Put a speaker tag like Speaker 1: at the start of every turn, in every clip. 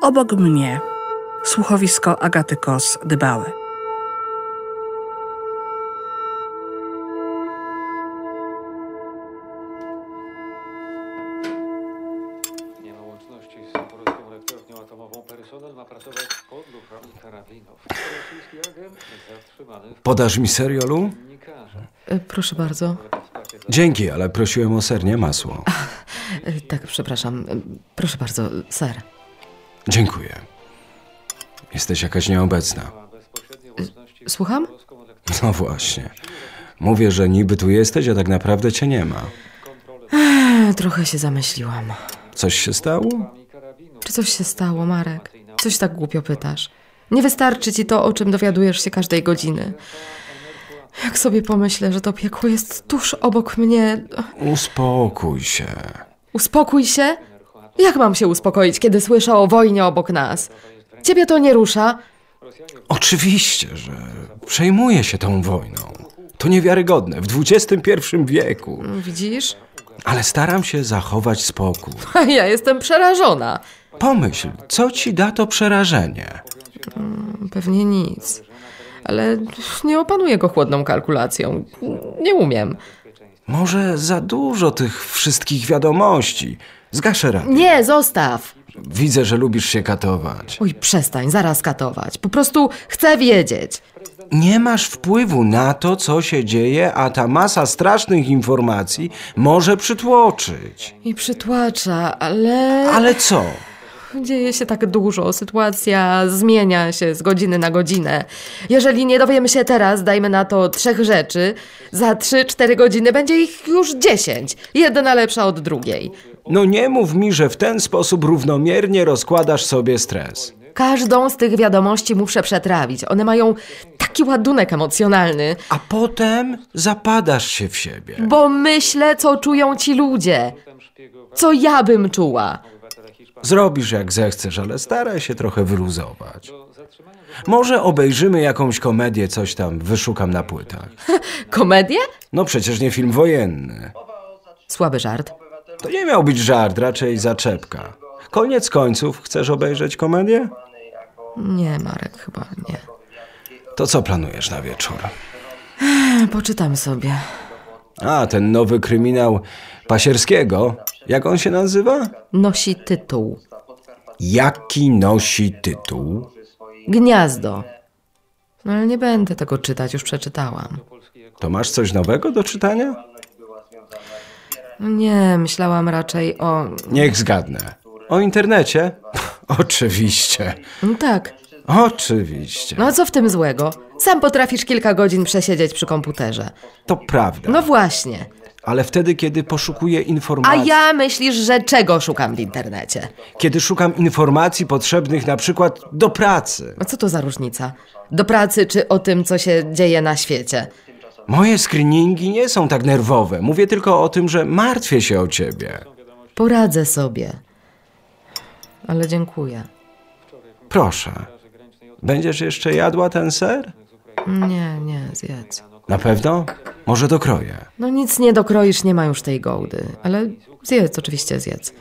Speaker 1: obok mnie słuchowisko Agaty Kos Dybały.
Speaker 2: Nie ma łączności z Zaporowską elektrownią atomową. Personel ma pracować pod lufami karabinów. Rosyjski agent zatrzymany w
Speaker 3: Podasz mi seriolu?
Speaker 2: dziennikarza.
Speaker 4: E, Proszę bardzo.
Speaker 3: Dzięki, ale prosiłem o ser, nie masło.
Speaker 4: E, Tak, przepraszam. E, Proszę bardzo, ser.
Speaker 3: Dziękuję. Jesteś jakaś nieobecna.
Speaker 2: Ma bezpośrednie łączności z
Speaker 4: Słucham?
Speaker 2: Zaporowską elektrownią.
Speaker 3: No właśnie. Mówię, że niby tu jesteś, a tak naprawdę cię nie ma.
Speaker 4: E, Trochę się zamyśliłam.
Speaker 3: Coś się stało?
Speaker 4: Czy coś się stało, Marek? Coś tak głupio pytasz. Nie wystarczy ci to, o czym dowiadujesz się każdej godziny. Jak sobie pomyślę, że to piekło jest tuż obok mnie.
Speaker 3: Uspokój się.
Speaker 4: Uspokój się? Jak mam się uspokoić, kiedy słyszę o wojnie obok nas? Ciebie to nie rusza?
Speaker 3: Oczywiście, że przejmuję się tą wojną. To niewiarygodne w XXI wieku.
Speaker 4: Widzisz?
Speaker 3: Ale staram się zachować spokój.
Speaker 4: Ja jestem przerażona.
Speaker 3: Pomyśl, co ci da to przerażenie?
Speaker 4: Pewnie nic. Ale nie opanuję go chłodną kalkulacją. Nie umiem.
Speaker 3: Może za dużo tych wszystkich wiadomości. Zgaszę radio.
Speaker 4: Nie, zostaw!
Speaker 3: Widzę, że lubisz się katować.
Speaker 4: Oj, przestań, zaraz katować. Po prostu chcę wiedzieć.
Speaker 3: Nie masz wpływu na to, co się dzieje, a ta masa strasznych informacji może przytłoczyć.
Speaker 4: I przytłacza, ale...
Speaker 3: Ale co?
Speaker 4: Dzieje się tak dużo. Sytuacja zmienia się z godziny na godzinę. Jeżeli nie dowiemy się teraz, dajmy na to trzech rzeczy, za trzy, cztery godziny będzie ich już dziesięć. Jedna lepsza od drugiej.
Speaker 3: No nie mów mi, że w ten sposób równomiernie rozkładasz sobie stres.
Speaker 4: Każdą z tych wiadomości muszę przetrawić. One mają taki ładunek emocjonalny,
Speaker 3: A potem zapadasz się w siebie.
Speaker 4: bo myślę, co czują ci ludzie. Co ja bym czuła.
Speaker 3: Zrobisz jak zechcesz, ale staraj się trochę wyluzować. Może obejrzymy jakąś komedię, coś tam wyszukam na płytach.
Speaker 4: Komedię?
Speaker 3: No przecież nie film wojenny.
Speaker 4: Słaby żart.
Speaker 3: To nie miał być żart, raczej zaczepka. Koniec końców, chcesz obejrzeć komedię?
Speaker 4: Nie, Marek, chyba nie.
Speaker 3: To co planujesz na wieczór?
Speaker 4: Poczytam sobie.
Speaker 3: A, ten nowy kryminał Pasierskiego. Jak on się nazywa?
Speaker 4: Nosi tytuł
Speaker 3: Jaki nosi tytuł?
Speaker 4: Gniazdo. No, ale nie będę tego czytać, już przeczytałam.
Speaker 3: To masz coś nowego do czytania?
Speaker 4: No Nie, myślałam raczej o.
Speaker 3: Niech zgadnę. O internecie? Oczywiście.
Speaker 4: No tak.
Speaker 3: Oczywiście.
Speaker 4: No a co w tym złego? Sam potrafisz kilka godzin przesiedzieć przy komputerze.
Speaker 3: To prawda.
Speaker 4: No właśnie.
Speaker 3: Ale wtedy, kiedy poszukuję
Speaker 4: A
Speaker 3: informacji...
Speaker 4: ja myślisz, że czego szukam w internecie?
Speaker 3: Kiedy szukam informacji potrzebnych na przykład do pracy.
Speaker 4: A co to za różnica? Do pracy czy o tym, co się dzieje na świecie?
Speaker 3: Moje screeningi nie są tak nerwowe. Mówię tylko o tym, że martwię się o ciebie.
Speaker 4: Poradzę sobie. Ale dziękuję.
Speaker 3: Proszę. Będziesz jeszcze jadła ten ser?
Speaker 4: Nie, nie, zjedz.
Speaker 3: Na pewno? Może dokroję.
Speaker 4: No nic nie dokroisz, nie ma już tej gołdy. Ale zjedz, oczywiście zjedz.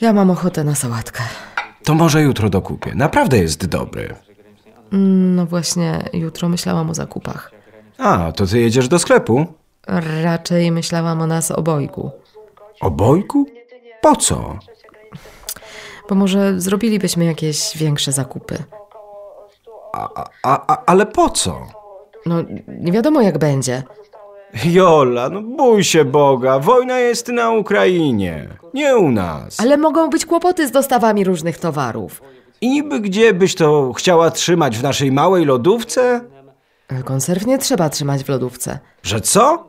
Speaker 4: Ja mam ochotę na sałatkę.
Speaker 3: To może jutro dokupię. Naprawdę jest dobry.
Speaker 4: No właśnie, jutro myślałam o zakupach.
Speaker 3: A, to ty jedziesz do sklepu?
Speaker 4: Raczej myślałam o nas obojgu.
Speaker 3: Obojku? Po co?
Speaker 4: Bo może zrobilibyśmy jakieś większe zakupy.
Speaker 3: A, a, a, ale po co?
Speaker 4: No, nie wiadomo jak będzie.
Speaker 3: Jola, no bój się Boga. Wojna jest na Ukrainie. Nie u nas.
Speaker 4: Ale mogą być kłopoty z dostawami różnych towarów.
Speaker 3: I niby gdzie byś to chciała trzymać w naszej małej lodówce?
Speaker 4: Ale Konserw nie trzeba trzymać w lodówce.
Speaker 3: Że co?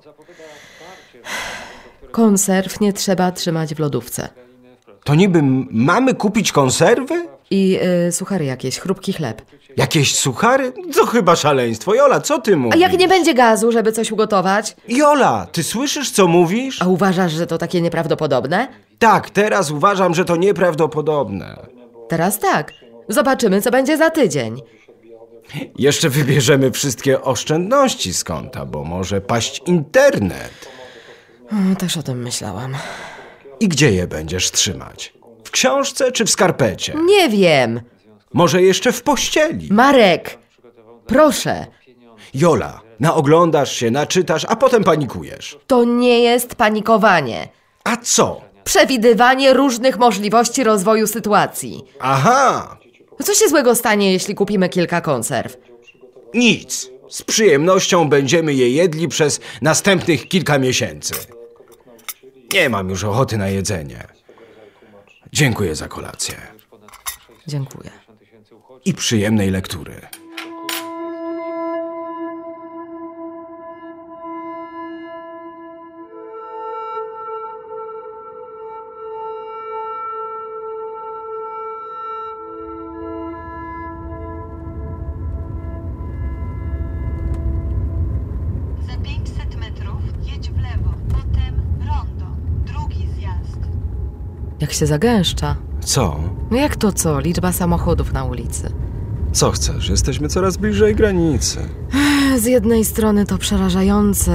Speaker 4: Konserw nie trzeba trzymać w lodówce.
Speaker 3: To niby m- mamy kupić konserwy?
Speaker 4: I y, suchary jakieś, chrupki chleb.
Speaker 3: Jakieś suchary? To chyba szaleństwo. Jola, co ty
Speaker 4: A
Speaker 3: mówisz?
Speaker 4: jak nie będzie gazu, żeby coś ugotować?
Speaker 3: Jola, ty słyszysz, co mówisz?
Speaker 4: A uważasz, że to takie nieprawdopodobne?
Speaker 3: Tak, teraz uważam, że to nieprawdopodobne.
Speaker 4: Teraz tak. Zobaczymy, co będzie za tydzień.
Speaker 3: Jeszcze wybierzemy wszystkie oszczędności z konta, bo może paść internet.
Speaker 4: Mm, Hmm, Też o tym myślałam.
Speaker 3: I gdzie je będziesz trzymać?
Speaker 4: W
Speaker 3: w książce czy w skarpecie?
Speaker 4: Nie wiem.
Speaker 3: Może jeszcze w pościeli?
Speaker 4: Marek, proszę,
Speaker 3: Jola, naoglądasz się, naczytasz, a potem panikujesz.
Speaker 4: to nie jest panikowanie.
Speaker 3: A co?
Speaker 4: Przewidywanie różnych możliwości rozwoju sytuacji.
Speaker 3: Aha,
Speaker 4: No Co się złego stanie, jeśli kupimy kilka konserw?
Speaker 3: nic. Z przyjemnością będziemy je jedli przez następnych kilka miesięcy. Nie mam już ochoty na jedzenie. Dziękuję za kolację
Speaker 4: Dziękuję.
Speaker 3: i przyjemnej lektury.
Speaker 5: Za 500 metrów jedź w lewo, potem rondo, drugi zjazd.
Speaker 4: Jak się zagęszcza?
Speaker 3: Co?
Speaker 4: No jak to co? Liczba samochodów na ulicy.
Speaker 3: Co chcesz? Jesteśmy coraz bliżej granicy.
Speaker 4: Z jednej strony to przerażające.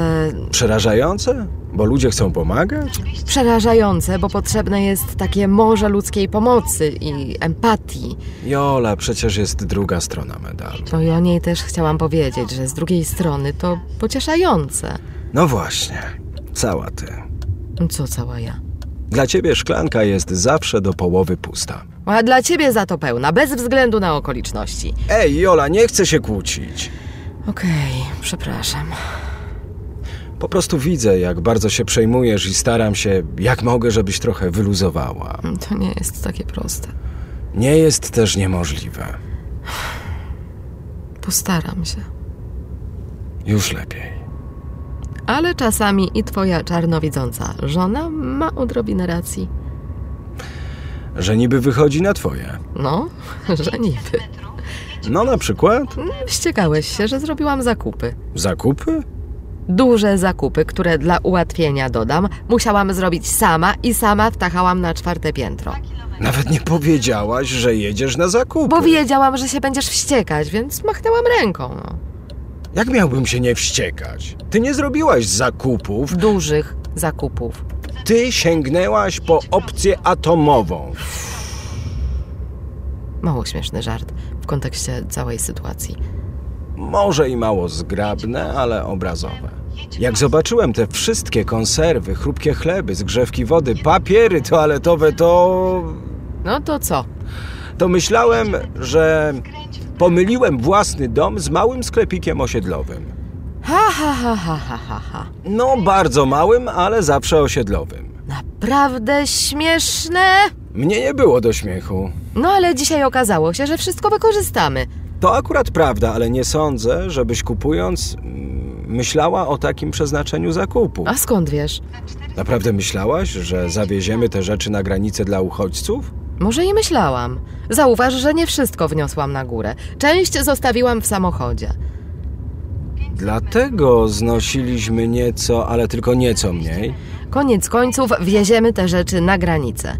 Speaker 3: Przerażające? Bo ludzie chcą pomagać?
Speaker 4: Przerażające, bo potrzebne jest takie morze ludzkiej pomocy i empatii.
Speaker 3: Jola, przecież jest druga strona medalu.
Speaker 4: No i o niej też chciałam powiedzieć, że z drugiej strony to pocieszające. No
Speaker 3: No właśnie, cała ty.
Speaker 4: Co cała ja?
Speaker 3: Dla ciebie szklanka jest zawsze do połowy pusta.
Speaker 4: No A dla ciebie za to pełna, bez względu na okoliczności.
Speaker 3: Ej, Jola, nie chcę się kłócić.
Speaker 4: Okej, przepraszam.
Speaker 3: Po prostu widzę, jak bardzo się przejmujesz i staram się, jak mogę, żebyś trochę wyluzowała.
Speaker 4: To nie jest takie proste.
Speaker 3: Nie jest też niemożliwe.
Speaker 4: Postaram się.
Speaker 3: Już lepiej.
Speaker 4: Ale czasami i twoja czarnowidząca żona ma odrobinę racji.
Speaker 3: Że niby wychodzi na twoje.
Speaker 4: No, że niby.
Speaker 3: No na przykład
Speaker 4: Wściekałeś się, że zrobiłam zakupy.
Speaker 3: zakupy?
Speaker 4: Duże zakupy, które dla ułatwienia dodam, musiałam zrobić sama i sama wtachałam na czwarte piętro.
Speaker 3: Nawet nie powiedziałaś, że jedziesz na zakupy.
Speaker 4: Bo wiedziałam, że się będziesz wściekać, więc machnęłam ręką. No.
Speaker 3: Jak miałbym się nie wściekać? Ty nie zrobiłaś zakupów,
Speaker 4: Dużych zakupów.
Speaker 3: ty sięgnęłaś po opcję atomową.
Speaker 4: Mało śmieszny żart w kontekście całej sytuacji.
Speaker 3: Może i mało zgrabne, ale obrazowe. Jak zobaczyłem te wszystkie konserwy, chrupkie chleby, zgrzewki wody, papiery toaletowe, to.
Speaker 4: No to co?
Speaker 3: to myślałem, że pomyliłem własny dom z małym sklepikiem osiedlowym.
Speaker 4: Ha, ha, ha, ha, ha, ha, ha.
Speaker 3: No, bardzo małym, ale zawsze osiedlowym.
Speaker 4: Naprawdę śmieszne!
Speaker 3: Mnie nie było do śmiechu.
Speaker 4: No ale dzisiaj okazało się, że wszystko wykorzystamy.
Speaker 3: To akurat prawda, ale nie sądzę, żebyś kupując mm, myślała o takim przeznaczeniu zakupu.
Speaker 4: A skąd wiesz?
Speaker 3: Naprawdę myślałaś, że zawieziemy te rzeczy na granicę dla uchodźców?
Speaker 4: Może i myślałam. Zauważ, że nie wszystko wniosłam na górę. Część zostawiłam w samochodzie.
Speaker 3: Dlatego znosiliśmy nieco, ale tylko nieco mniej.
Speaker 4: Koniec końców wieziemy te rzeczy na granicę.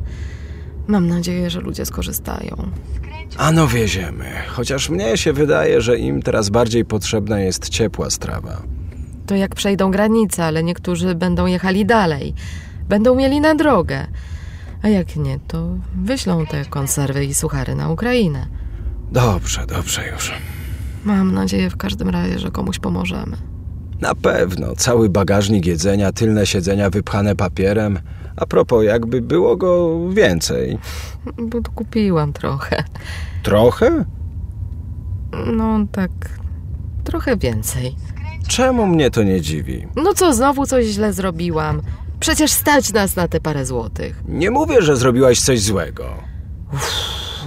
Speaker 4: Mam nadzieję, że ludzie skorzystają.
Speaker 3: Ano no wieziemy, chociaż mnie się wydaje, że im teraz bardziej potrzebna jest ciepła strawa.
Speaker 4: To jak przejdą granice, ale niektórzy będą jechali dalej. Będą mieli na drogę. A jak nie, to wyślą te konserwy i suchary na Ukrainę.
Speaker 3: Dobrze, dobrze już.
Speaker 4: Mam nadzieję w każdym razie, że komuś pomożemy.
Speaker 3: Na pewno, cały bagażnik jedzenia, tylne siedzenia wypchane papierem. A propos, jakby było go więcej.
Speaker 4: Bo tu kupiłam trochę.
Speaker 3: Trochę?
Speaker 4: No tak, trochę więcej.
Speaker 3: Czemu mnie to nie dziwi?
Speaker 4: No co, znowu coś źle zrobiłam. Przecież stać nas na te parę złotych.
Speaker 3: Nie mówię, że zrobiłaś coś złego.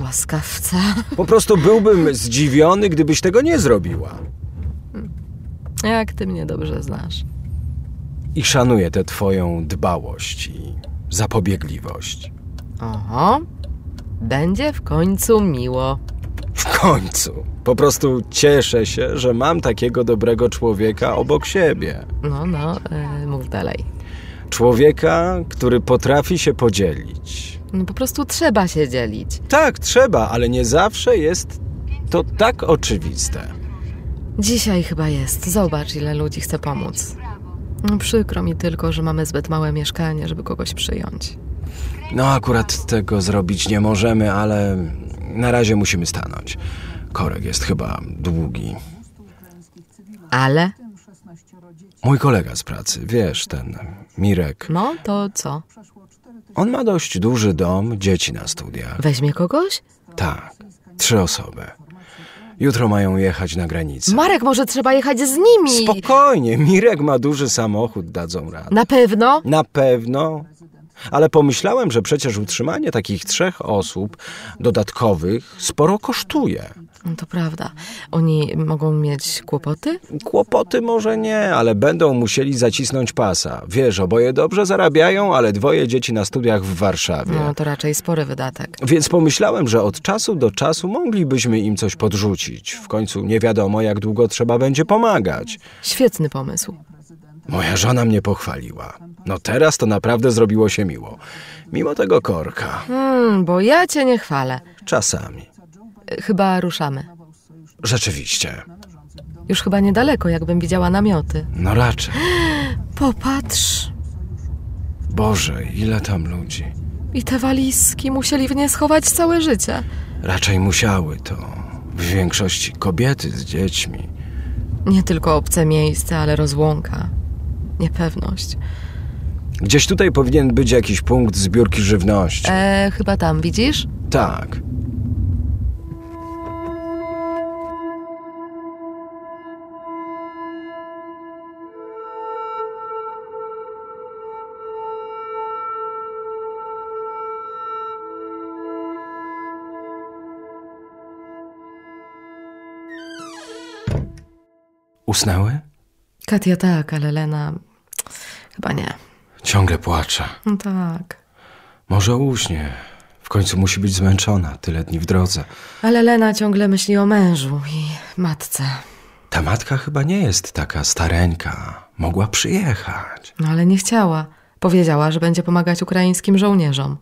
Speaker 4: Łaskawca.
Speaker 3: Po prostu byłbym zdziwiony, gdybyś tego nie zrobiła.
Speaker 4: Jak ty mnie dobrze znasz.
Speaker 3: I szanuję tę twoją dbałość i zapobiegliwość.
Speaker 4: Oho. Będzie w końcu miło.
Speaker 3: W końcu. Po prostu cieszę się, że mam takiego dobrego człowieka obok siebie.
Speaker 4: No, no, e, mów dalej.
Speaker 3: Człowieka, który potrafi się podzielić.
Speaker 4: No po prostu trzeba się dzielić.
Speaker 3: Tak, trzeba, ale nie zawsze jest to tak oczywiste.
Speaker 4: Dzisiaj chyba jest. Zobacz, ile ludzi chce pomóc. No, przykro mi tylko, że mamy zbyt małe mieszkanie, żeby kogoś przyjąć.
Speaker 3: No, akurat tego zrobić nie możemy, ale na razie musimy stanąć. Korek jest chyba długi.
Speaker 4: Ale?
Speaker 3: Mój kolega z pracy, wiesz, ten Mirek,
Speaker 4: No to co?
Speaker 3: on ma dość duży dom, dzieci na studiach.
Speaker 4: Weźmie kogoś?
Speaker 3: Tak, trzy osoby. Jutro mają jechać na granicę.
Speaker 4: Marek, może trzeba jechać z nimi?
Speaker 3: Spokojnie, Mirek ma duży samochód, dadzą radę.
Speaker 4: Na pewno?
Speaker 3: Na pewno. Ale pomyślałem, że przecież utrzymanie takich trzech osób dodatkowych sporo kosztuje.
Speaker 4: No To prawda. Oni mogą mieć kłopoty?
Speaker 3: Kłopoty może nie, ale będą musieli zacisnąć pasa. Wiesz, oboje dobrze zarabiają, ale dwoje dzieci na studiach w Warszawie.
Speaker 4: No to raczej spory wydatek.
Speaker 3: Więc pomyślałem, że od czasu do czasu moglibyśmy im coś podrzucić. W końcu nie wiadomo, jak długo trzeba będzie pomagać.
Speaker 4: Świetny pomysł.
Speaker 3: Moja żona mnie pochwaliła. No teraz to naprawdę zrobiło się miło. Mimo tego korka.
Speaker 4: Hmm, bo ja cię nie chwalę.
Speaker 3: Czasami.
Speaker 4: Chyba ruszamy.
Speaker 3: Rzeczywiście.
Speaker 4: Już chyba niedaleko, jakbym widziała namioty.
Speaker 3: No raczej.
Speaker 4: Popatrz!
Speaker 3: Boże, ile tam ludzi.
Speaker 4: I te walizki musieli w nie schować całe życie.
Speaker 3: Raczej musiały to. W większości kobiety z dziećmi.
Speaker 4: Nie tylko obce miejsce, ale rozłąka. Niepewność.
Speaker 3: Gdzieś tutaj powinien być jakiś punkt zbiórki żywności.
Speaker 4: E, chyba tam, widzisz?
Speaker 3: Tak. Usnęły?
Speaker 4: Katia tak, ale Lena... Chyba nie.
Speaker 3: Ciągle płacze.
Speaker 4: No tak.
Speaker 3: Może uśnie. W końcu musi być zmęczona, tyle dni w drodze.
Speaker 4: Ale Lena ciągle myśli o mężu i matce.
Speaker 3: Ta matka chyba nie jest taka stareńka. Mogła przyjechać.
Speaker 4: No ale nie chciała. Powiedziała, że będzie pomagać ukraińskim żołnierzom.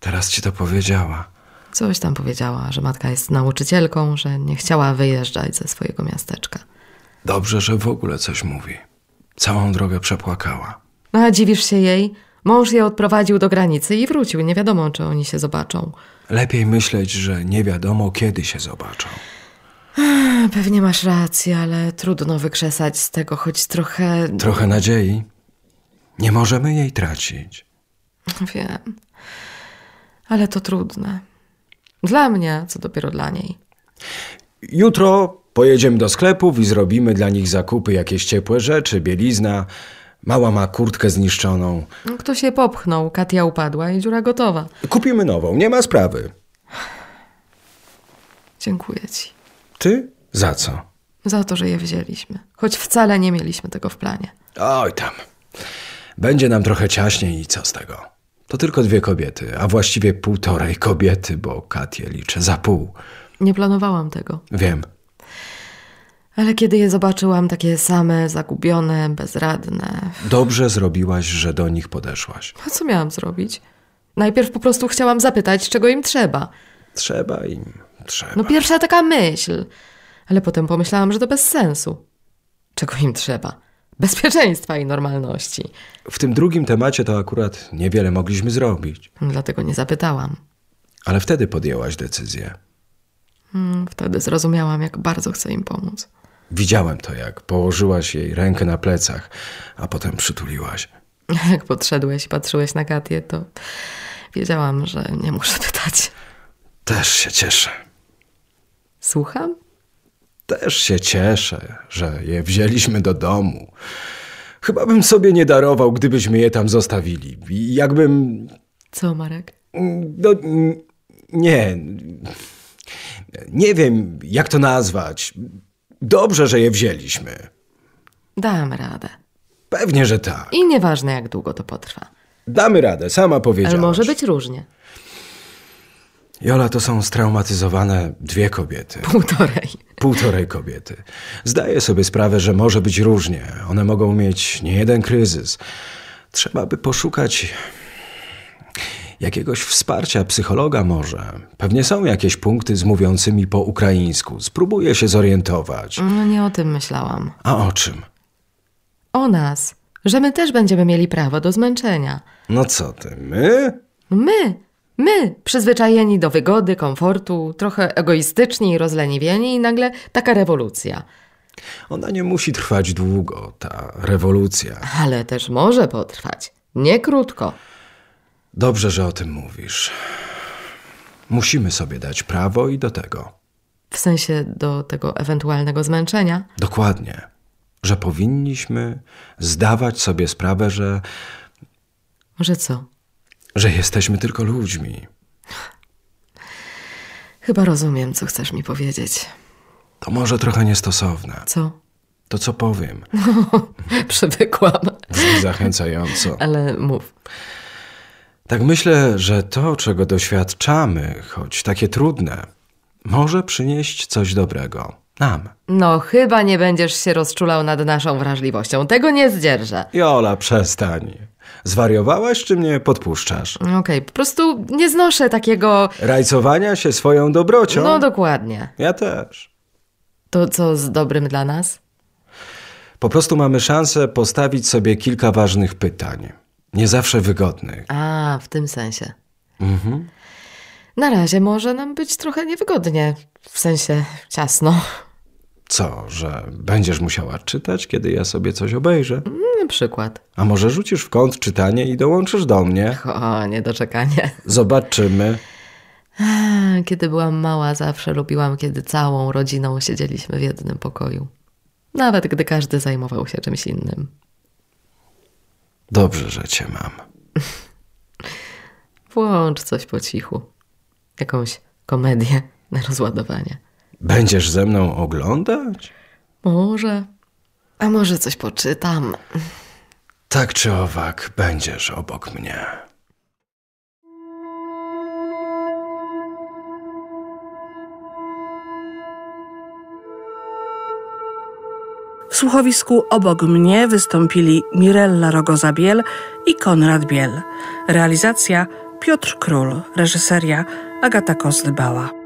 Speaker 3: Teraz ci to powiedziała.
Speaker 4: Coś tam powiedziała, że matka jest nauczycielką, że nie chciała wyjeżdżać ze swojego miasteczka.
Speaker 3: Dobrze, że w ogóle coś mówi. Całą drogę przepłakała.
Speaker 4: No a dziwisz się jej? Mąż je odprowadził do granicy i wrócił. Nie wiadomo, czy oni się zobaczą.
Speaker 3: Lepiej myśleć, że nie wiadomo kiedy się zobaczą.
Speaker 4: Pewnie masz rację, ale trudno wykrzesać z tego choć trochę.
Speaker 3: Trochę nadziei. Nie możemy jej tracić.
Speaker 4: Wiem. Ale to trudne. Dla mnie, co dopiero dla niej.
Speaker 3: Jutro pojedziemy do sklepów i zrobimy dla nich zakupy, jakieś ciepłe rzeczy, bielizna. Mała ma kurtkę zniszczoną.
Speaker 4: No, Ktoś je popchnął, Katia upadła i dziura gotowa.
Speaker 3: Kupimy nową, nie ma sprawy.
Speaker 4: Dziękuję ci
Speaker 3: Ty? Za co?
Speaker 4: za to, że je wzięliśmy. Choć wcale nie mieliśmy tego w planie.
Speaker 3: Oj tam. Będzie nam trochę ciaśniej i co z tego? To tylko dwie kobiety, a właściwie półtorej kobiety, bo Katię liczę za pół.
Speaker 4: Nie planowałam tego.
Speaker 3: Wiem.
Speaker 4: Ale kiedy je zobaczyłam, takie same, zagubione, bezradne,
Speaker 3: Dobrze zrobiłaś, że do nich podeszłaś.
Speaker 4: a co miałam zrobić? Najpierw po prostu chciałam zapytać, czego im trzeba.
Speaker 3: Trzeba im. Trzeba.
Speaker 4: No pierwsza taka myśl. Ale potem pomyślałam, że to bez sensu. Czego im trzeba? Bezpieczeństwa i normalności.
Speaker 3: W tym drugim temacie to akurat niewiele mogliśmy zrobić.
Speaker 4: Dlatego nie zapytałam.
Speaker 3: Ale wtedy podjęłaś decyzję.
Speaker 4: Mm, Wtedy zrozumiałam, jak bardzo chcę im pomóc.
Speaker 3: Widziałem to, jak położyłaś jej rękę na plecach, a potem przytuliłaś.
Speaker 4: Jak podszedłeś i patrzyłeś na Katię, to wiedziałam, że nie muszę pytać.
Speaker 3: Też się cieszę.
Speaker 4: Słucham?
Speaker 3: Też się cieszę, że je wzięliśmy do domu. Chyba bym sobie nie darował, gdybyśmy je tam zostawili. I Jakbym.
Speaker 4: Co, Marek?
Speaker 3: No, n- nie. Nie wiem, jak to nazwać. Dobrze, że je wzięliśmy.
Speaker 4: Dam radę.
Speaker 3: Pewnie, że tak.
Speaker 4: I nieważne, jak długo to potrwa.
Speaker 3: Damy radę, sama powiedziałaś.
Speaker 4: Ale może być różnie.
Speaker 3: Jola, to są straumatyzowane dwie kobiety.
Speaker 4: Półtorej.
Speaker 3: Półtorej kobiety. Zdaję sobie sprawę, że może być różnie. One mogą mieć nie jeden kryzys. Trzeba by poszukać jakiegoś wsparcia, psychologa może. Pewnie są jakieś punkty z mówiącymi po ukraińsku. Spróbuję się zorientować.
Speaker 4: No nie o tym myślałam.
Speaker 3: A o czym?
Speaker 4: O nas. Że my też będziemy mieli prawo do zmęczenia.
Speaker 3: No co ty, my?
Speaker 4: My, my, przyzwyczajeni do wygody, komfortu, trochę egoistyczni i rozleniwieni i nagle taka rewolucja.
Speaker 3: Ona nie musi trwać długo, ta rewolucja.
Speaker 4: Ale też może potrwać. Nie krótko.
Speaker 3: Dobrze, że o tym mówisz. Musimy sobie dać prawo i do tego.
Speaker 4: W sensie do tego ewentualnego zmęczenia.
Speaker 3: Dokładnie. Że powinniśmy zdawać sobie sprawę, że,
Speaker 4: Że co?
Speaker 3: że jesteśmy tylko ludźmi.
Speaker 4: Chyba rozumiem, co chcesz mi powiedzieć.
Speaker 3: To może trochę niestosowne.
Speaker 4: Co?
Speaker 3: To co powiem,
Speaker 4: Przywykłam.
Speaker 3: brzmi zachęcająco.
Speaker 4: Ale mów.
Speaker 3: Tak myślę, że to, czego doświadczamy, choć takie trudne, może przynieść coś dobrego nam.
Speaker 4: No, chyba nie będziesz się rozczulał nad naszą wrażliwością. Tego nie zdzierżę.
Speaker 3: Jola, przestań. Zwariowałaś, czy mnie podpuszczasz?
Speaker 4: Okej, po prostu nie znoszę takiego.
Speaker 3: Rajcowania się swoją dobrocią?
Speaker 4: No dokładnie.
Speaker 3: Ja też.
Speaker 4: To co z dobrym dla nas?
Speaker 3: Po prostu mamy szansę postawić sobie kilka ważnych pytań. Nie zawsze wygodnych.
Speaker 4: A, w tym sensie. Mhm. Na razie może nam być trochę niewygodnie. W sensie ciasno.
Speaker 3: Co, że będziesz musiała czytać, kiedy ja sobie coś obejrzę?
Speaker 4: Na przykład.
Speaker 3: A może rzucisz w kąt czytanie i dołączysz do mnie?
Speaker 4: O, niedoczekanie.
Speaker 3: Zobaczymy.
Speaker 4: Kiedy byłam mała, zawsze lubiłam, kiedy całą rodziną siedzieliśmy w jednym pokoju. Nawet gdy każdy zajmował się czymś innym.
Speaker 3: Dobrze, że cię mam.
Speaker 4: Włącz coś po cichu. Jakąś komedię na rozładowanie.
Speaker 3: Będziesz ze mną oglądać?
Speaker 4: Może. A może coś poczytam.
Speaker 3: Tak czy owak, będziesz obok mnie.
Speaker 1: W słuchowisku obok mnie wystąpili Mirella Rogoza-Biel i Konrad Biel. Realizacja Piotr Król, reżyseria Agata Kozdbała.